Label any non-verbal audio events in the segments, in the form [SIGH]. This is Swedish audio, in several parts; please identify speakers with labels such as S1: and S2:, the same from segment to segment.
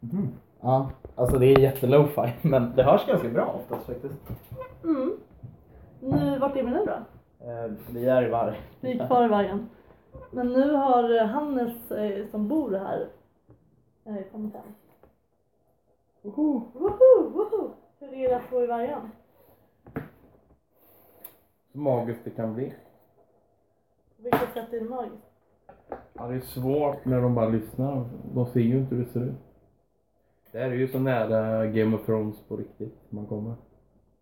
S1: Mhm.
S2: Ja, alltså det är jättelofi [LAUGHS] men det hörs ganska bra oftast faktiskt.
S1: Mm. Nu, vart är vi nu då?
S2: Eh, vi är i varg.
S1: Vi är kvar i vargen. Men nu har Hannes eh, som bor här eh, kommit hem.
S2: Woho!
S1: Woho, woho! Hur är det att bo i vargen?
S3: Så magiskt det kan bli.
S1: På vilket sätt är det magiskt?
S3: Ja, det är svårt när de bara lyssnar. De ser ju inte hur det ser ut. Det här är ju så nära Game of Thrones på riktigt man kommer.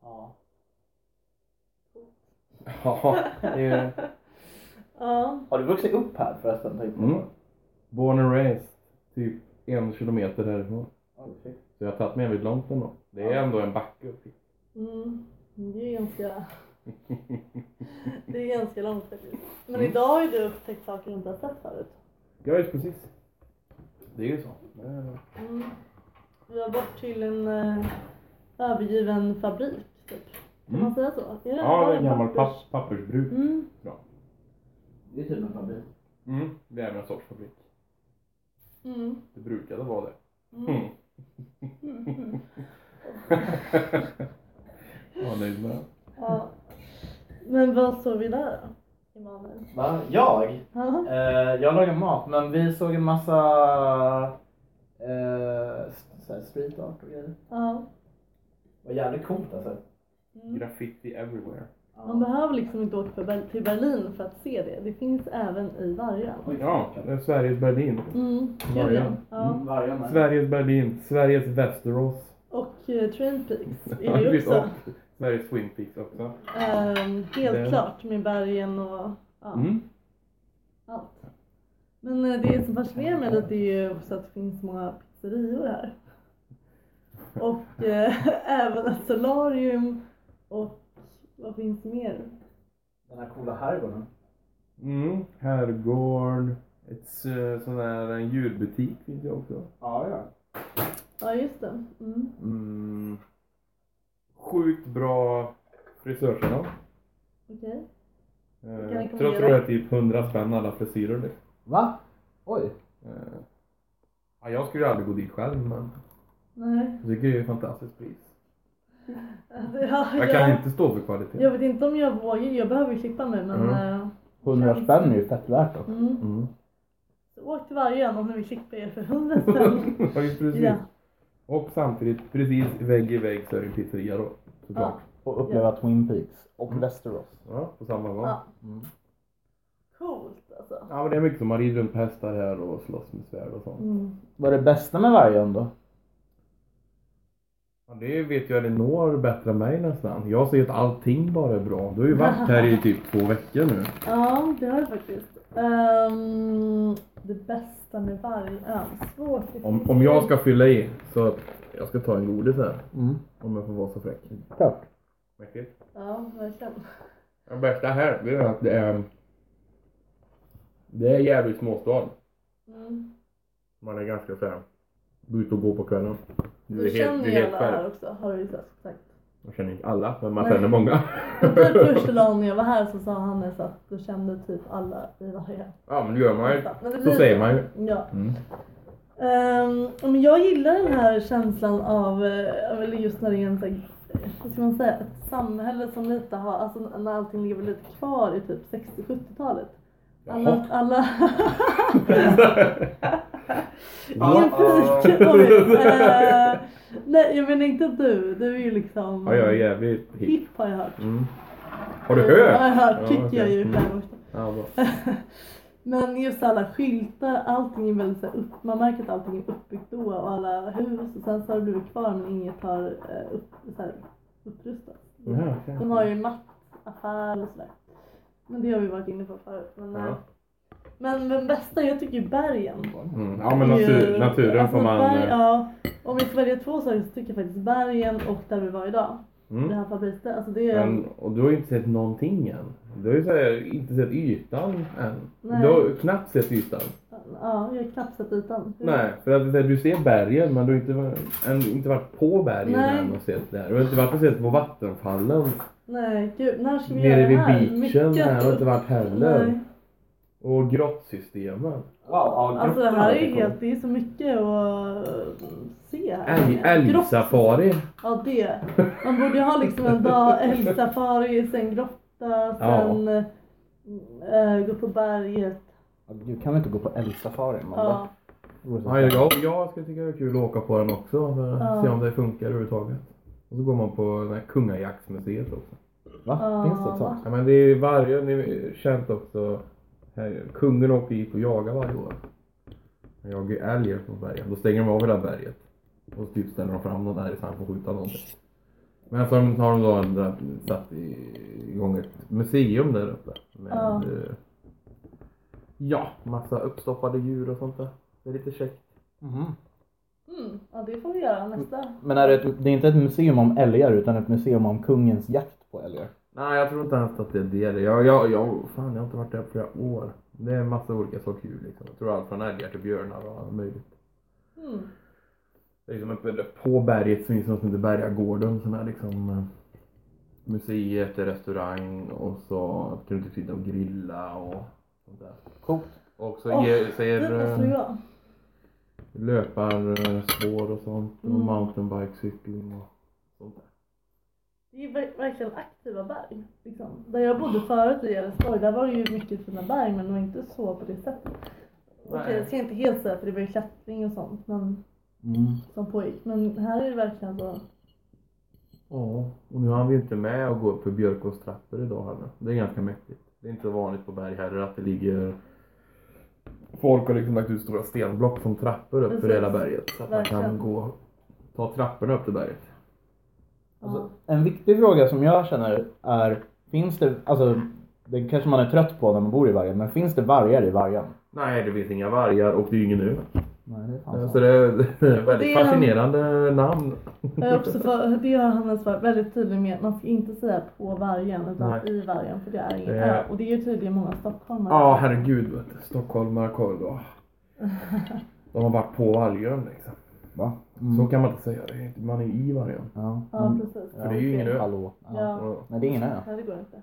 S2: Ja.
S3: Ja, det är
S1: Ja,
S2: Har du vuxit upp här förresten? tänkte jag på?
S3: Mm. born and raised typ en kilometer härifrån.
S2: Ja, det är fint.
S3: Så jag har tagit mig väldigt långt ändå. Det är
S2: Ja.
S3: ändå en backe upp hit.
S1: mm, det är ganska... [LAUGHS] Det är ganska långt faktiskt. Men
S3: Mm.
S1: idag har ju du upptäckt saker du inte har sett förut.
S3: [LAUGHS] Ja, just precis. Det är ju så. Det är-
S1: Mm. Vi var bort till en eh, övergiven fabrik, typ. Kan
S3: Mm.
S1: man säga så? Är
S3: Ja, det är en gammal
S1: pappers-
S3: papp- pappersbruk.
S1: Mm.
S2: Det är tydligen en fabrik.
S3: Mm. Det är en sorts fabrik.
S1: Mm.
S3: Det brukade vara det.
S1: Mm.
S3: Mm. [LAUGHS] Jag var nöjd med det.
S1: Ja. Men vad såg vi där då? Emanuel?
S2: Va? Jag?
S1: Ja.
S2: Eh, jag lagar mat men vi såg en massa eh, s- så här street art och grejer.
S1: Ja.
S2: Det var jävligt coolt alltså. Mm.
S1: Mm.
S3: Graffiti everywhere.
S1: Man behöver liksom inte åka för Ber- till Berlin för att se det. Det finns även i vargen.
S3: Ja, det är Sveriges Berlin.
S1: Mm. gud ja.
S3: Vargen.
S1: Ja.
S2: Varje med.
S3: Sveriges Berlin, Sveriges Västerås.
S1: Och eh, Train
S3: [LAUGHS]
S1: Peaks
S3: Ja,
S1: är det ju
S3: visst,
S1: också.
S3: och Sveriges Twin Peaks också.
S1: Ehm, helt
S3: Det-
S1: klart med bergen och ja,
S3: Mm.
S1: allt. Men eh, det som fascinerar mig lite är ju också att det finns så många pizzerior här. Och eh, [LAUGHS] även ett solarium och vad finns mer?
S2: Den här coola herrgården.
S3: Mm. Herrgård. Ett s- sån där en djurbutik finns ju också.
S2: Ja, ja.
S1: Ja just det. Mm.
S3: Mm. Sjukt bra frisörsalong.
S1: Okej.
S3: Eh,
S1: kan
S3: jag tror
S1: rekommendera.
S3: jag är typ 100 spänn alla frisyrer. liksom.
S2: Va? Oj.
S3: Eh, Ja, jag skulle ju aldrig gå dit själv men
S1: Nej. [LAUGHS]
S3: jag tycker det är ett fantastiskt pris.
S1: Ja,
S3: Jag kan inte stå för kvalitet.
S1: jag vet inte om jag vågar. Jag behöver ju klippa mig men...
S3: Mm.
S1: eh,
S2: 100 spänn är ju fett värt också.
S1: Mm.
S3: Mm.
S1: Så åk till vargen om ni vill klippa er för 100 spänn.
S3: [LAUGHS] Ja, just precis.
S1: Ja.
S3: Och samtidigt precis vägg i vägg så är det en pizzeria då. Såklart.
S2: Och uppleva Twin Peaks och Västerås.
S3: Ja, på samma gång.
S1: Ja.
S3: Ja.
S1: Coolt alltså.
S3: men det är mycket som man rider runt på hästar här och slåss med svärd och sånt.
S1: Mm.
S2: Vad är det bästa med vargen då?
S3: Ja, det vet ju Elinor bättre än mig nästan. Jag ser att allting bara är bra. Du har
S1: [LAUGHS]
S3: ju varit här i typ två veckor nu.
S1: Ja, det har jag faktiskt. Ehm, det bästa med vargön. Svårt. att-
S3: Om, om jag ska fylla i så jag ska ta en godis här.
S2: Mm,
S3: Om jag får vara så fräck.
S2: klart.
S3: Mäktigt.
S1: Ja, verkligen.
S3: Det bästa här det är att det är Det är jävligt småstad.
S1: Mm.
S3: Man är ganska såhär Gå ut och gå på kvällen.
S1: Du känner ju alla här också, har du ju sagt.
S3: Man känner inte alla men man
S1: Nej.
S3: känner många.
S1: Men typ första dagen när jag var här så sa Hannes att du kände typ alla i vargen.
S3: ja men det gör man ju.
S1: Men det
S3: Så
S1: blir-
S3: säger man ju.
S1: Ja.
S3: Mm.
S1: Ehm, men jag gillar den här känslan av, eh, eller just när det är en, så här, eh, vad ska man säga, ett samhälle som lite har, alltså när allting lever lite kvar i typ 60-70-talet. Alla,
S3: Jaha.
S1: alla,
S3: Ja.
S1: ingen fik, oj. Eh, nej jag menar inte du, du är ju liksom
S3: Ja jag är jävligt hipp.
S1: hipp har jag hört.
S3: Mm. Har du
S1: Ja, jag
S3: hört?
S1: har hört,
S3: Ja,
S1: tycker jag
S3: okej. Mm.
S1: ju själv också.
S3: Ja, bra.
S1: Men just alla skyltar, allting är väldigt så här upp, man märker att allting är uppbyggt då och alla hus och sen så har det blivit kvar men inget har eh, upp, så här, upprustats.
S3: Ja, okej.
S1: De har ju en mattaffär och sådär. Men det har vi varit inne på förut. Men,
S3: Ja.
S1: eh, men den bästa, jag tycker ju bergen.
S3: Mm. ja men
S1: Det är ju-
S3: natur, naturen
S1: alltså
S3: får man...
S1: Berg,
S3: eh,
S1: ja, om vi får välja två saker så tycker jag faktiskt bergen och där vi var idag. Det
S3: Mm.
S1: här fabriken. Alltså det är...
S3: Men, och du har ju inte sett någonting än. Du har ju så här, inte sett ytan än.
S1: Nej.
S3: Du har ju knappt sett ytan.
S1: Ja, jag har knappt sett dit än.
S3: Nej, för att det är så här, du ser bergen men du har inte, varit- än, inte varit på bergen
S1: Nej.
S3: än och sett det här. Du har inte varit och sett på vattenfallen
S1: Nej, gud. När ska vi
S3: nere
S1: göra det
S3: vid
S1: här?
S3: beachen.
S1: Mycket.
S3: Nej, har inte varit heller.
S1: Nej.
S3: Och grottsystemen.
S2: Wow, ja,
S1: Alltså det här är ju
S3: grottorna.
S1: helt, det är så mycket och eh,
S3: Älg, älgsafari.
S1: Ja, det. Man borde ju ha liksom en
S3: [LAUGHS]
S1: dag älgsafari, sen grotta, sen eh, gå på berget.
S2: Du kan väl inte gå på älgsafari? Man
S1: Ja.
S3: Ja, jag, jag ska tycka det är kul att åka på den också för att
S1: Ja.
S3: se om det funkar överhuvudtaget. Och så går man på det här kungajaktsmuseet också.
S2: Va?
S1: Ja,
S2: Finns det ett sånt?
S1: va?
S3: Ja, men det är ju varje, ni är känt också. Här, kungen åker dit och jagar varje år. Han jagar ju älgar på bergen. Då stänger de av hela berget. Och typ ställer de fram någon älg så han får skjuta någonting. Men så har de- har de då en där- satt i- igång ett museum där uppe. Med
S1: Ja.
S3: eh, ja, massa uppstoppade djur och sånt där. Det är lite käckt.
S2: Mhm.
S1: Mm, ja, det får vi göra nästa.
S2: Men är det, ett, det är inte ett museum om älgar utan ett museum om kungens jakt på älgar?
S3: Nej, jag tror inte ens att det är det. Jag, jag, jag, fan, jag har inte varit där på flera år. Det är en massa olika sorters djur liksom. Jag tror allt från älgar till björnar och allt möjligt.
S1: Mm.
S3: Det är liksom uppe på berget så finns det något som heter Bergagården som är liksom eh, museet, restaurang och så kan du typ sitta och grilla och sånt där.
S2: Coolt.
S3: Och så
S1: Åh,
S3: ger, eh,
S1: Dit
S3: säger
S1: måste vi gå.
S3: löparspår eh, och sånt och
S1: Mm.
S3: mountainbikecykling och sånt där.
S1: Det är ver- verkligen aktiva berg. Liksom. Där jag bodde förut i Älvsborg, där var det ju mycket fina berg men det var inte så på det sättet. Okej,
S3: Nej.
S1: jag ska inte helt säga för det var ju klättring och sånt men,
S2: Mm.
S1: som pågick. Men här är det verkligen så.
S3: Ja, och nu hann vi inte med att gå upp för Björkås trappor idag heller. Det är ganska mäktigt. Det är inte så vanligt på berg heller att det ligger Folk har liksom lagt ut stora stenblock som trappor upp för
S1: Precis.
S3: hela berget. Så att man kan
S1: Verkligen.
S3: gå ta trapporna upp till berget.
S1: Ja.
S2: Alltså, en viktig fråga som jag känner är, finns det, alltså det kanske man är trött på när man bor i vargen, men finns det vargar i vargen?
S3: Nej, det finns inga vargar och det är ju ingen ur.
S2: Nej, det är
S3: Så det är [LAUGHS] det är ett
S1: Det
S3: väldigt
S1: är-
S3: fascinerande namn.
S1: Jag har också för, det har Hannes varit väldigt tydlig med. Man ska inte säga på vargen utan
S3: Nej.
S1: i vargen för det är ingen
S3: Det
S1: ö.
S3: är-
S1: Och det är ju tydligen många stockholmare.
S3: Ja, herregud vet du. Stockholmare koll
S1: [LAUGHS]
S3: då. De har varit på vargen liksom.
S2: Va?
S3: Så
S1: Mm.
S3: kan man inte säga. det är inte- Man är ju i vargen.
S2: Ja.
S1: ja
S2: Mm.
S1: precis.
S3: För det är ju ingen ö.
S2: Hallå. Ja.
S1: Ja.
S3: Ja,
S2: Nej, det är ingen ö.
S1: Nej det går inte.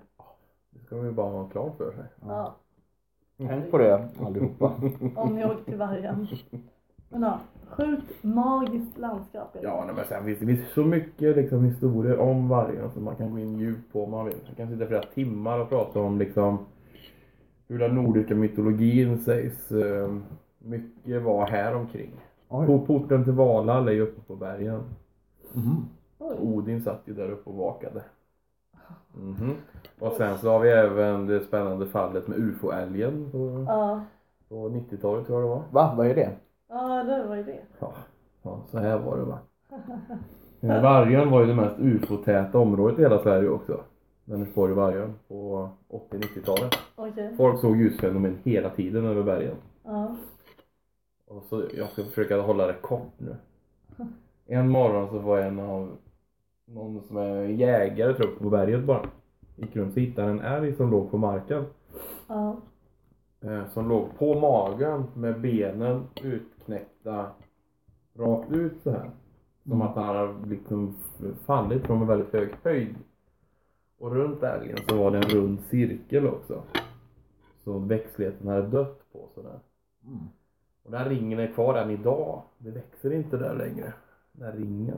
S3: Det ska man ju bara ha klart för sig.
S1: Ja.
S2: Tänk på det allihopa.
S1: Om ni åker till vargen. Men ja, sjukt magiskt landskap. är det.
S3: Ja, nej, men sen finns det finns så mycket liksom, historier om vargen som man kan gå in djupt på om man vill. Man kan sitta flera timmar och prata om liksom, hur den nordiska mytologin sägs. Eh, mycket var här omkring.
S2: [LAUGHS] Oj.
S3: På porten till Valhall är ju uppe på bergen.
S2: Mhm.
S1: Oj.
S3: Odin satt ju där uppe och vakade. Mhm. Och sen så har vi även det spännande fallet med ufo-älgen på,
S1: Ja.
S3: på 90-talet tror jag det var.
S2: Va? Vad är det?
S1: Ja, det var ju det.
S3: Ja, ja så här var det va. Eh, Vargön var ju det mest ufo-täta området i hela Sverige också. Vänersborg och Vargön på 80-90-talet.
S1: Okej.
S3: Folk såg ljusfenomen hela tiden över bergen.
S1: Ja.
S3: Och så, jag ska försöka hålla det kort nu. En morgon så var en av någon som är jägare tror jag, på berget bara. Gick runt och hittade en älg som låg på marken.
S1: Ja.
S3: Eh, som låg på magen med benen utknäckta rakt ut så här. Som att han hade liksom fallit från en väldigt hög höjd. Och runt älgen så var det en rund cirkel också. Som växtligheten hade dött på sådär.
S2: Mm.
S3: Och den här ringen är kvar än idag. Det växer inte där längre. Den här ringen.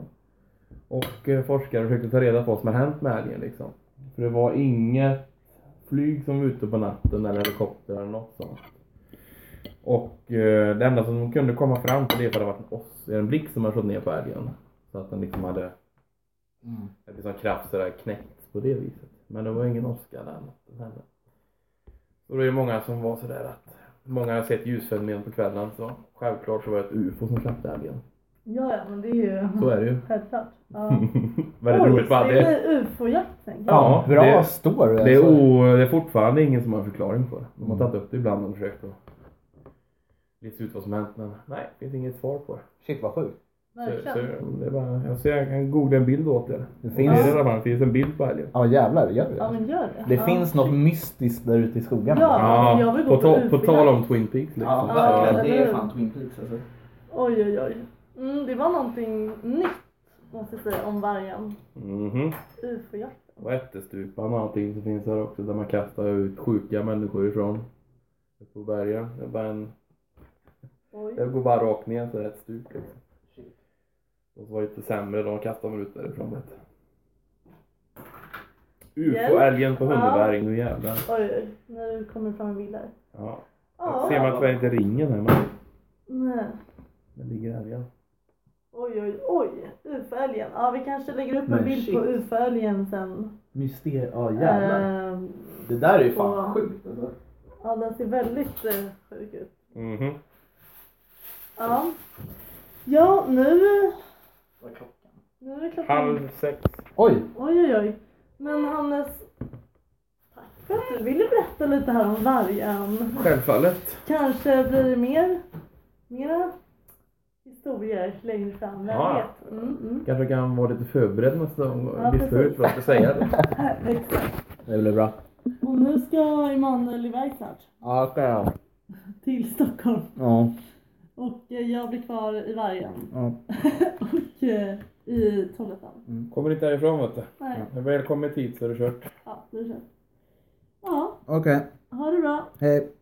S3: Och eh, forskare försökte ta reda på vad som har hänt med älgen liksom. För det var inget flyg som var ute på natten eller helikopter eller något sånt. Och eh, det enda som de kunde komma fram till det är att det hade varit en, oss, en blick som hade slått ner på älgen. Så att den liksom hade
S2: Mm.
S3: det blir som kraft sådär knäckts på det viset. Men det var ingen åska där natten heller. Och det är många som var sådär att många har sett ljusfenomen på kvällen så självklart så var det ett ufo som slapp älgen.
S1: Ja, ja, men det är ju [LAUGHS]
S3: Så är det ju. [LAUGHS]
S1: självklart. Ja.
S3: Väldigt roligt fall.
S1: det
S3: Det,
S1: är ufo-jakt tänker jag.
S3: Ja,
S2: Ja, bra
S3: det-
S2: story
S3: det, är
S2: alltså.
S3: o, det är fortfarande ingen som har en förklaring på det. De har tagit upp det ibland och försökt att lista ut vad som hänt men nej, det finns inget svar på det.
S2: Shit vad sjukt.
S3: Så, så
S1: Verkligen.
S3: det är bara, jag, ser, jag kan googla en bild åt er.
S2: Det
S3: Det
S2: finns...
S3: är det där man, det finns en bild på älgen.
S2: Ja jävlar, gör vi
S1: Ja,
S2: det?
S1: men gör det.
S2: Det
S1: ja.
S2: finns något mystiskt där ute i skogarna.
S1: Ja. men jag vill gå
S3: på, ta,
S1: på
S3: på
S1: ufo.
S3: tal om Twin Peaks liksom.
S2: Ja,
S3: så-
S2: verkligen.
S1: eller
S2: Det är
S1: hur?
S2: fan Twin Peaks alltså.
S1: Oj, oj, oj. Mm, det var någonting nytt måste jag säga om vargen.
S3: Mhm.
S1: Ufo-jakt.
S3: Och ättestupan och allting som finns här också där man kastar ut sjuka människor ifrån. Uppe på bergen. Det, är bara en,
S1: Oj.
S3: det går bara rakt ner så det är ett stup liksom. Och så var lite sämre, de kastade mig ut därifrån. vet du.
S1: Hjälp.
S3: UFO-älgen på Hunneberg, nu jävlar.
S1: Oj, oj, nu kommer fram en bild här.
S3: Ja.
S1: Ja.
S3: Ser man tyvärr inte ringen här men
S1: Nej.
S3: den ligger här igen.
S1: Oj, oj, oj. UFO-älgen. Ja, vi kanske lägger upp
S2: Men
S1: en bild
S2: shit.
S1: på UFO-älgen sen.
S2: Mysterium. Ja jävlar.
S1: Ehm,
S2: Det där är ju
S1: Åh.
S2: fan sjukt alltså.
S1: ja, den ser väldigt eh, sjuk ut.
S3: Mhm.
S1: Ja. Ja, nu,
S2: Vad är klockan?
S1: nu är det klockan.
S3: Halv sex.
S2: Oj!
S1: Oj, oj, oj. Men Hannes, tack för att du ville berätta lite här om vargen.
S3: Självfallet.
S1: Kanske blir det mer, mera historier längre fram. Vem
S3: Ja.
S1: vet? Mm, mm.
S3: Kanske kan vara lite förberedd nästa gång och
S1: Ja,
S3: lista
S1: precis.
S3: ut vad jag ska säga.
S1: Exakt.
S2: Det blev bra.
S1: Och nu ska Emanuel iväg snart.
S2: Ja, okej. ja.
S1: Till Stockholm.
S2: Ja.
S1: Och eh, jag blir kvar i vargen.
S2: ja.
S1: Och eh, i Trollhättan.
S3: Kommer inte härifrån vet du.
S1: Nej,
S3: Välkommen hit så är det kört.
S1: ja, nu kör vi. Ja,
S2: Okej,
S1: ha det bra.
S2: hej.